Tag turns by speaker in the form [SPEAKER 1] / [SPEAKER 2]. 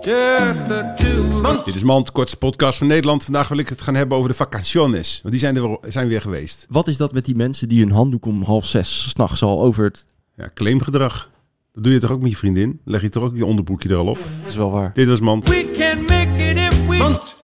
[SPEAKER 1] Just the two of us.
[SPEAKER 2] Dit is Mand, kortste podcast van Nederland. Vandaag wil ik het gaan hebben over de vacationes. Want die zijn er weer, zijn weer geweest.
[SPEAKER 3] Wat is dat met die mensen die hun handdoek om half zes s'nachts al over het...
[SPEAKER 2] Ja, claimgedrag. Dat doe je toch ook met je vriendin? Leg je toch ook je onderbroekje er al op?
[SPEAKER 3] Dat is wel waar.
[SPEAKER 2] Dit was Mand.
[SPEAKER 1] We can make it if we want.